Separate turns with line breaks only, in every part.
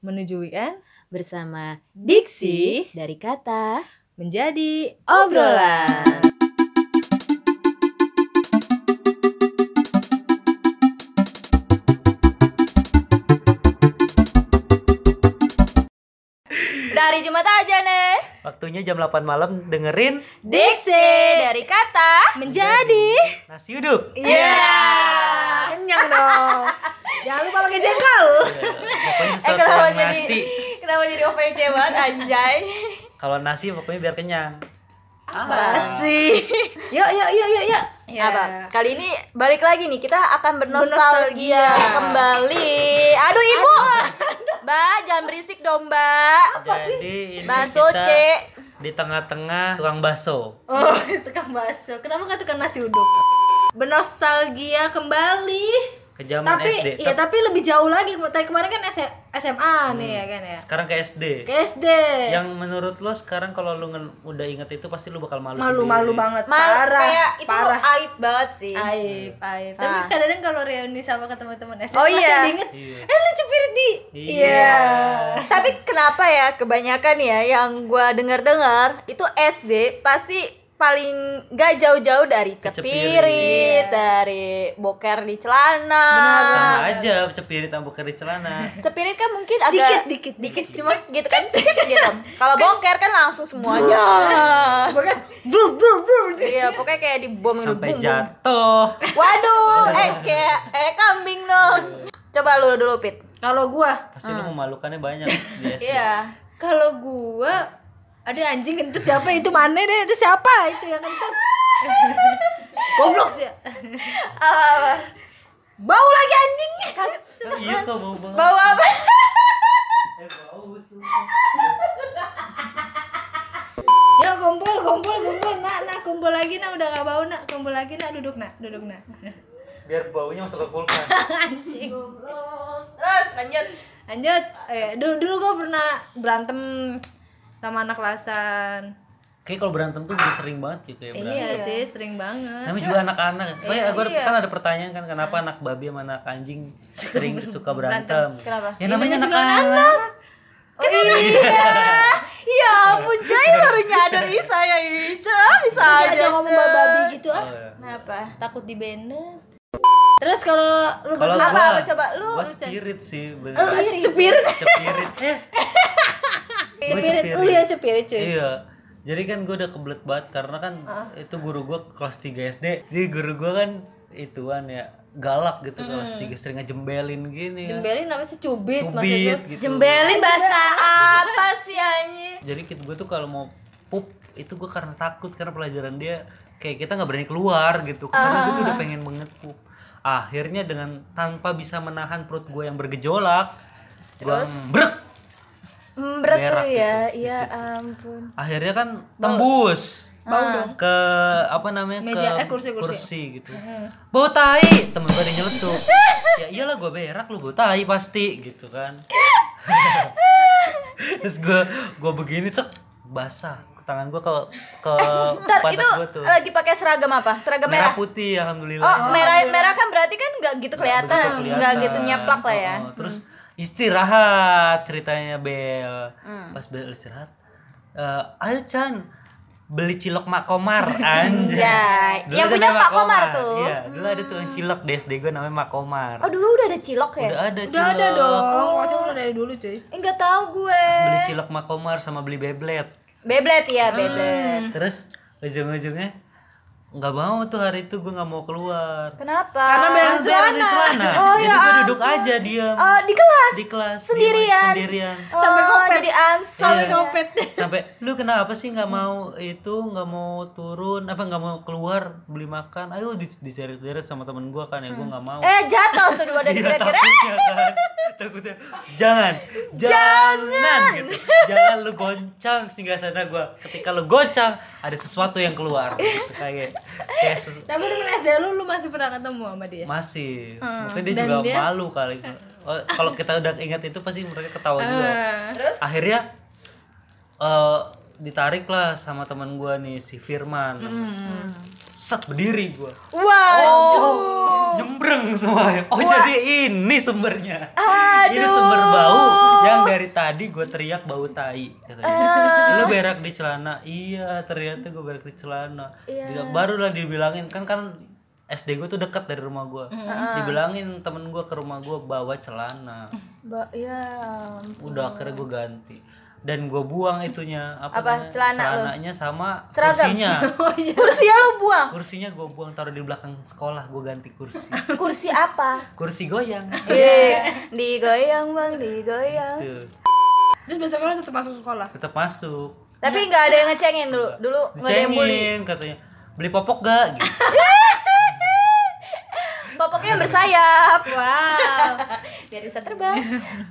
menuju weekend
bersama Diksi dari kata
menjadi
obrolan. Dari Jumat aja nih.
Waktunya jam 8 malam dengerin
Diksi dari kata Eh,
menjadi
nasi uduk.
Iya. Kenyang dong. Jangan lupa pakai jengkol.
Pokoknya
Eh,
sesuatu
kenapa
yang
jadi-
nasi.
Kenapa jadi OVC banget anjay?
Kalau nasi pokoknya biar kenyang. Ah,
Pasti. Yuk yuk yuk yuk yuk.
Apa? Kali ini balik lagi nih kita akan bernostalgia
Bernostalgia.
kembali. Aduh ibu, mbak jangan berisik dong mbak.
Jadi ini
Bakso
kita
C.
di tengah-tengah tukang bakso.
Oh, tukang bakso. Kenapa nggak tukang nasi uduk? Bernostalgia kembali.
Ke zaman
tapi
SD.
iya,
Tep-
tapi lebih jauh lagi. Tadi kemarin kan S- SMA nih ya kan ya.
Sekarang ke SD.
Ke SD.
Yang menurut lo sekarang kalau lo ngen- udah inget itu pasti lo bakal malu
Malu-malu
sendiri.
banget,
Mal,
parah,
kayak itu
parah.
aib banget sih.
aib aib tapi
Ah.
kadang-kadang kalau reuni sama ke teman-teman SD
Oh,
masih
iya.
ada inget
Iya.
eh lu cepirit di
Iya.
Tapi kenapa ya kebanyakan ya yang gua dengar-dengar itu SD pasti paling gak jauh-jauh dari
Kecepirit.
cepirit, dari boker di celana.
Sama aja cepirit sama boker di celana.
Cepirit kan mungkin
dikit
agak
dikit dikit cuma
cuma gitu kan cip gitu. Kalau boker kan langsung semuanya.
Iya. bukan bur bur bur
Iya, pokoknya kayak di bom gitu,
Sampai
bum, bum.
jatuh.
Waduh, eh kayak eh kambing dong. Coba lu dulu Pit.
kalau gua
Pasti lo memalukannya banyak di SD.
Iya.
kalau gua ada anjing kentut siapa itu mana deh itu siapa itu yang kentut goblok sih
Apa?
bau lagi anjing
Tapi iya kok bau banget.
Bau apa?
Eh, bau, busuk.
ya kumpul kumpul kumpul nak nak kumpul lagi nak udah gak bau nak kumpul lagi nak duduk nak duduk nak
Biar baunya masuk ke kulkas.
Terus lanjut.
lanjut eh, dulu dulu gue pernah berantem sama anak kelasan
Kayak kalau berantem tuh udah sering banget gitu ya
Eh,
berantem.
iya sih sering banget
Namanya juga anak-anak. Kayak gua ada- kan ada pertanyaan kan kenapa anak babi sama anak anjing sering suka berantem.
Kenapa?
Ya,
Ya namanya
namanya juga
anak-anak.
Oh, iya. Ya ampun, Cai baru nyadar ya, ih saya Ica, bisa
Dia
aja.
aja ngomong babi babi gitu ah
Oh, iya.
Kenapa?
takut dibenet terus kalau lu
Kalau
berdua
gua,
Apa, apa? Coba lu,
gua
lu, Chan.
spirit sih bener.
Eh, lu spirit
Cepirit. Eh, gua
cepirit lu yang cepirit cuy
Iya. Jadi kan gue udah kebelet banget karena kan itu guru gue kelas 3 SD. Jadi guru gue kan ituan ya galak gitu kelas 3 sering ngejembelin gini. kan.
jembelin apa sih cubit maksud
Cubit
lu
gitu.
jembelin bahasa apa sih anjing?
Jadi kita gue tuh kalau mau pup itu gue karena takut karena pelajaran dia kayak kita nggak berani keluar gitu. Karena gue tuh udah pengen banget pup. Akhirnya dengan tanpa bisa menahan perut gue yang bergejolak, gue brek.
Berat tuh
Berak
ya.
gitu,
Ya ampun.
Akhirnya kan tembus.
bau dong
ke apa namanya
Meja,
ke
eh, kursi, kursi.
gitu bau tai temen gue ada nyeletuk ya iyalah gue berak lu bau tai pasti gitu kan terus gue gue begini tuh basah tangan gue ke ke
Eh,
Ntar itu
pantat gue tuh
lagi pakai seragam apa? Seragam merah.
merah putih
Oh,
alhamdulillah
merah merah kan berarti kan nggak gitu
Nggak begitu
kelihatan, nggak gitu nyeplak lah ya.
Oh, oh. terus istirahat ceritanya Bel.
Hmm.
Pas Bel istirahat, eh, ayo Chan beli cilok Mak Komar
Anjay.
anjay. Dulu
Yang
ada
punya
namanya
Pak Komar tuh. Hmm.
Iya, dulu ada tuh cilok di SD gue namanya Mak Komar.
Oh dulu udah ada cilok ya?
Udah ada cilok.
udah ada dong wajah udah Oh, dari dulu cuy
Enggak tahu gue.
Beli cilok Mak Komar sama beli Beyblade.
Beblet ya, beblet.
Terus ujung-ujungnya nggak mau tuh hari itu gue nggak mau keluar.
Kenapa?
Karena berak
Bel di celana.
Oh,
Jadi
ya
gue duduk aja diam
Oh, di kelas.
di kelas diam,
Sendirian.
Sendirian.
Sampai
Oh,
kopet.
Jadi ansor.
Sampai kopet.
sampai lu kenapa sih nggak mau itu nggak mau turun apa nggak mau keluar beli makan ayo di- diseret-seret sama temen gua kan ya gua nggak mau
Eh, jatuh tuh dua dari
Iya,
kira-kira.
takutnya kan takutnya jangan jangan gitu jangan lu goncang sehingga sana gua ketika lu goncang ada sesuatu yang keluar gitu kayak kayak ses-
tapi temen SD lu lu masih pernah ketemu sama dia
masih mungkin dia
ya? Ah, Dan
juga
dia-
malu kali Oh, kalau kita udah ingat itu pasti
Ah.
mereka ketawa juga
Terus
akhirnya eh ditarik lah sama teman gua nih si Firman
Hmm.
set berdiri gua
waduh.
nyembreng semuanya oh jadi ini sumbernya ini sumber bau yang dari tadi gue teriak bau tai katanya.
Eh.
Lu berak di celana. Iya, ternyata gue berak di celana.
Iya.
Dia- Barulah dibilangin kan kan SD gue tuh dekat dari rumah gue. Dibilangin temen gue ke rumah gue bawa celana.
Ba ya.
Udah akhirnya gue ganti dan gue buang itunya apa,
Apa?
namanya?
Celana lu?
celananya sama
Seragam? Oh, iya.
kursinya
Kursinya lu buang.
kursinya gue buang taruh di belakang sekolah gue ganti kursi
Kursi apa?
kursi goyang Gitu.
Iya. digoyang bang, digoyang.
Tuh.
Terus besok lo tetap masuk sekolah.
tetap masuk
Tapi nggak ada yang ngecengin dulu. Dulu nggak ada yang bully.
dicengin katanya beli popok gak gitu
Popoknya yang bersayap. Wow. Biar bisa terbang.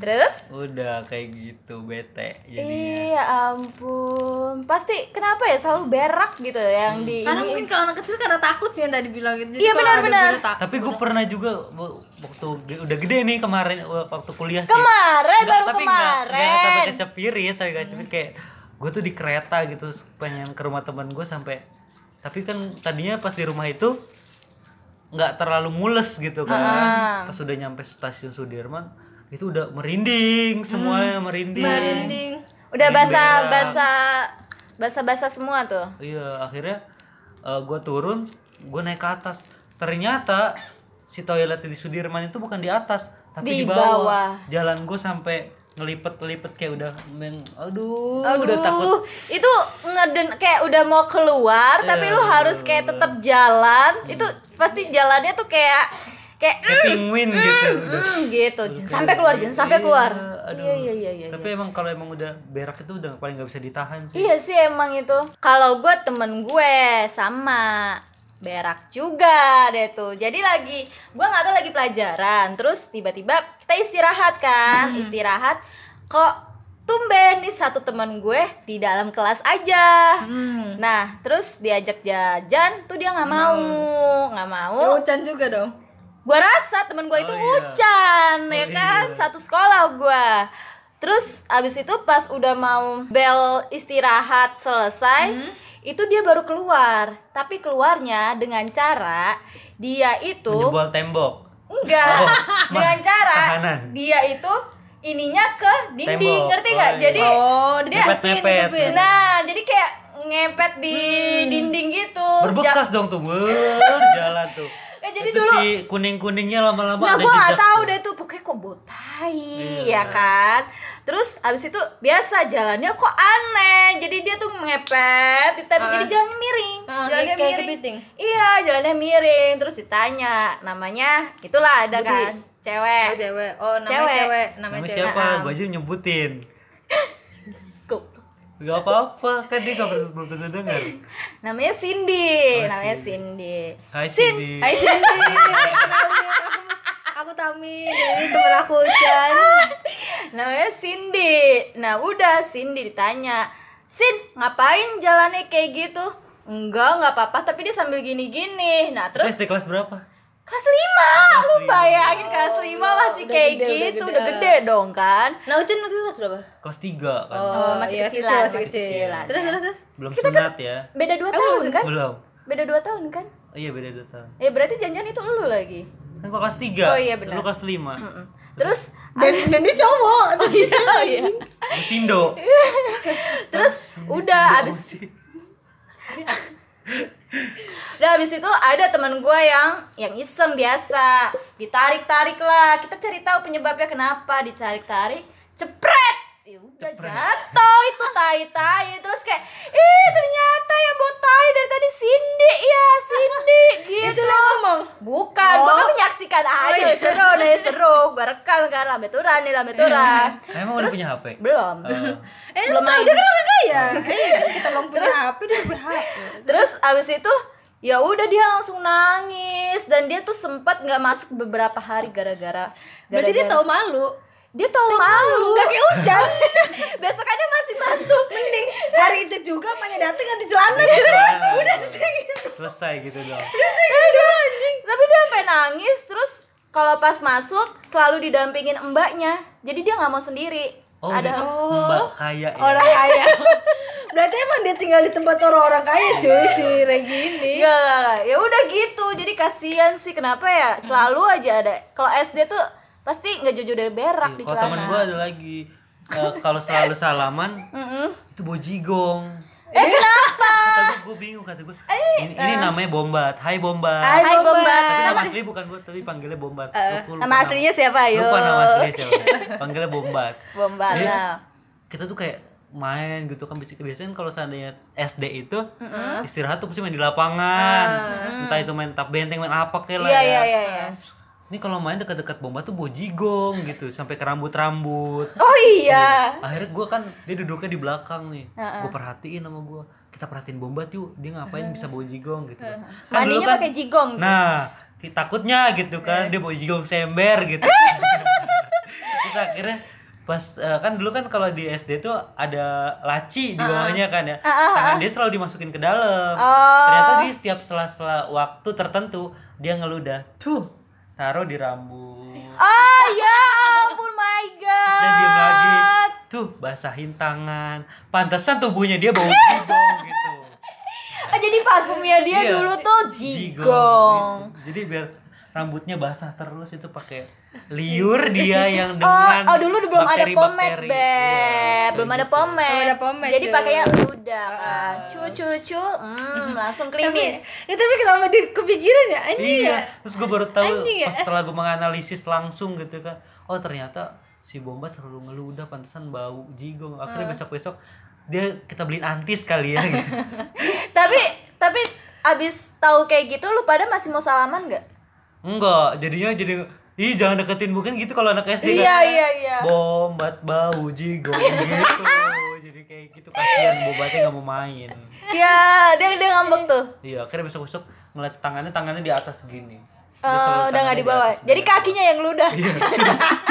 Terus?
udah kayak gitu bete jadi
Iya ampun. Pasti kenapa ya selalu berak gitu yang di
Karena mungkin kalau anak kecil karena takut sih yang tadi bilang gitu. Jadi
Iya,
kalau ada
benar-benar.
guru takut.
tapi gue pernah juga w- waktu ge- udah gede nih kemarin w- waktu kuliah sih
Kemarin
Nggak-
baru
tapi nggak- nggak sampai
kemarin.
kecepirit sampai kecepirit kayak gue tuh di kereta gitu pengen ke rumah temen gue sampai tapi kan tadinya pas di rumah itu nggak terlalu mules gitu kan pas udah nyampe stasiun Sudirman itu udah merinding
Hmm.
semuanya merinding
Merinding.
Udah
Yang
basah
berak.
basah basah basah semua tuh.
Iya, akhirnya gue turun, gue naik ke atas. Ternyata si toilet di Sudirman itu bukan di atas, tapi di,
Di
bawah.
bawah.
Jalan gue sampai ngelipet-ngelipet kayak udah meng, aduh, udah takut. Iya,
Aduh, itu ngeden kayak udah mau keluar tapi lu harus kayak tetap jalan.
Hmm.
Itu pasti jalannya tuh kayak kayak
Kayak penguin gitu. udah.
mm, gitu. Jangan sampai keluar, jangan sampai keluar.
Iya, aduh.
Iya iya iya iya.
Tapi emang kalau emang udah berak itu udah paling nggak bisa ditahan sih.
Iya sih emang itu. Kalau gue temen gue sama berak juga deh tuh. Jadi lagi gue nggak tahu lagi pelajaran. Terus tiba-tiba kita istirahat kan, istirahat. Kok tumben nih satu temen gue di dalam kelas aja. Nah terus diajak jajan tuh dia nggak mau, nggak mau.
Ya, Ucan juga dong.
Gua rasa temen gue itu
Oh, iya.
Ucan ya
Oh,
kan
iya.
satu sekolah gua terus abis itu pas udah mau bel istirahat selesai
Hmm.
itu dia baru keluar tapi keluarnya dengan cara dia itu
Menjebol tembok.
enggak
Oh,
dengan cara
tahanan.
dia itu ininya ke dinding
Tembok.
ngerti nggak
Oh, iya.
jadi
Oh,
dia-
ditepet-nepet.
Mepet-mepet.
ditepet.
nah jadi kayak ngempet di dinding gitu
Hmm.
Jak-
Berbekas dong tuh, wuh, di jalan tuh.
Ya, jadi
Itu
dulu-
si kuning-kuningnya lama-lama
Nah,
ada
gue gak
jejak
tahu
tuh.
deh tuh pokoknya kok botai
Iya.
ya kan. Terus abis itu biasa jalannya kok aneh. Jadi dia tuh ngepet, ditempel
Ah.
jadi jalannya miring.
Ah,
jalannya
kayak- kayak kepiting.
Iya, jalannya miring. Terus ditanya namanya, itulah ada
Budi.
kan, cewek.
Oh, cewek. Oh, namanya
Cewek. Nah,
cewek.
Namanya
Namanya cewek.
siapa?
Am.
Gue aja nyebutin.
Goblok.
Gak apa-apa, kan dia gak pernah belum tentu dengar.
Namanya Cindy,
Oh,
namanya
Cindy.
Cindy.
Hai Eh, Cindy.
Hai Cindy. Aku Tami. Aku- Aku Tami. Ini temen aku Ucan.
Namanya Cindy. Nah, udah Cindy ditanya, "Sin, ngapain jalannya kayak gitu?" Enggak, nggak apa-apa, tapi dia sambil gini-gini. Nah, terus
Terus di kelas berapa?
kelas 5 lu bayangin kelas 5 masih
Ah, udah
kayak
gede, udah
gitu
gede.
udah gede dong kan
Nah, Ucan waktu itu kelas berapa?
Kelas 3 kan.
Oh, masih
iya,
kecilan,
masih
masih
kecil.
kecilan.
Terus terus terus.
Belum sunat ya?
beda 2 tahun kan
Belum.
beda 2 tahun kan
Oh iya beda 2 tahun.
ya berarti janjian itu lu lagi
Kan gua kelas 3.
Oh iya, benar.
Lu kelas 5.
Hmm.
Mm-mm. terus
Dan dan dia cowok.
oh, iya.
Gua sindo.
terus udah abis Udah habis itu ada teman gue yang yang iseng biasa ditarik-tarik lah. Kita cari tahu penyebabnya kenapa ditarik-tarik. Cepret. Ya udah
Cepret.
jatuh itu tai-tai terus kayak ih ternyata yang buat tai dari tadi Cindy ya Cindy gitu
Itu lo ngomong.
bukan gue kan
Oh.
menyaksikan aja
iya.
seru nih seru gue rekam kan lambe turan nih lambe turan
Emang udah punya HP?
belum
Eh,
Eh, lu
Belum
tahu
main.
dia kan orang kaya. Eh, kita belum punya HP, dia punya HP.
Terus abis itu ya udah dia langsung nangis dan dia tuh sempat nggak masuk beberapa hari gara-gara
Berarti dia
gara-gara-
tahu malu.
dia tahu malu.
Enggak kayak Ucan.
Besokannya masih masuk.
Mending hari itu juga emaknya dateng ganti celana gitu.
Celana.
Udah selesai.
Selesai gitu dong.
Selesai udah anjing.
Tapi dia sampai nangis terus kalau pas masuk selalu didampingin mbaknya. Jadi dia nggak mau sendiri.
Oh,
Ada
dia Mbak kaya ya.
Orang kaya. Berarti emang dia tinggal di tempat orang-orang kaya cuy si Regini.
Iya, ya udah gitu. Jadi kasihan sih kenapa ya selalu aja ada. Kalau SD tuh pasti nggak jujur dari berak di
Iya, Kalau
celana.
temen gua ada lagi. eh, kalau selalu salaman
Mm-mm.
itu bojigong
Eh kenapa? Eh,
kata gue gue bingung kata gue ini, ini namanya bombat hai bombat
Hai,
Hai Bombat.
tapi nama
Nama,
asli bukan gue tapi panggilnya bombat Lupa- lupa
nama
nama-
aslinya siapa? Ayo.
lupa nama aslinya siapa panggilnya bombat
Bomba.
Jadi,
Nah.
kita tuh kayak main gitu kan biasanya biasanya kalau seandainya SD itu istirahat tuh pasti main di lapangan entah itu main tap benteng main apa kayak lah
Iya
ya.
iya iya iya.
ini kalau main dekat-dekat bomba tuh bojigong gitu sampai ke rambut-rambut
Oh iya.
akhirnya gue kan dia duduknya di belakang nih gue perhatiin sama gue kita perhatiin bombat yuk dia ngapain bisa bawa jigong gitu kan Kan dulu
Mandinya
kan-
pakai jigong.
nah ki- takutnya gitu kan dia bawa jigong sember gitu terus akhirnya pas eh, kan dulu kan kalau di SD tuh ada laci di bawahnya kan ya tangan dia selalu dimasukin ke dalam
Oh.
ternyata di setiap sela-sela waktu tertentu dia ngeludah tuh taruh di rambut
Oh ya ampun my god.
dan diem lagi tuh basahin tangan pantesan tubuhnya dia bau jigong gitu
Ah, jadi parfumnya dia
Iya,
dulu tuh jigong.
gitu. jadi biar rambutnya basah terus itu pakai liur dia
Oh,
yang gitu. dengan
oh dulu belum ada pomade,
bakteri-bakteri. Iya,
Beb. Belum ada pomade.
Belum ada pomade,
Jadi
cuy.
pakainya ludah kan. Cu cu cu. Hmm, langsung
tapi
krimis.
ya, tapi kenapa di kepikiran ya anjing
iya
ya
terus gue baru tahu
Anjing ya?
pas setelah gue menganalisis langsung gitu kan oh ternyata si bombat selalu ngeludah pantesan bau jigong akhirnya besok besok dia kita beliin antis kali ya gitu.
tapi tapi abis tahu kayak gitu lu pada masih mau salaman gak?
enggak jadinya jadi ih jangan deketin mungkin gitu kalau anak SD kan
Iya iya iya.
bombat bau jigong gitu jadi kayak gitu kasihan bobatnya nggak mau main
Iya, dia dia ngambek tuh.
iya akhirnya besok besok ngeliat tangannya tangannya di atas gini
Eh,
Dia
udah
selalu tangannya
nggak
di
dibawa.
atas.
Jadi kakinya yang ludah.
Iya. gitu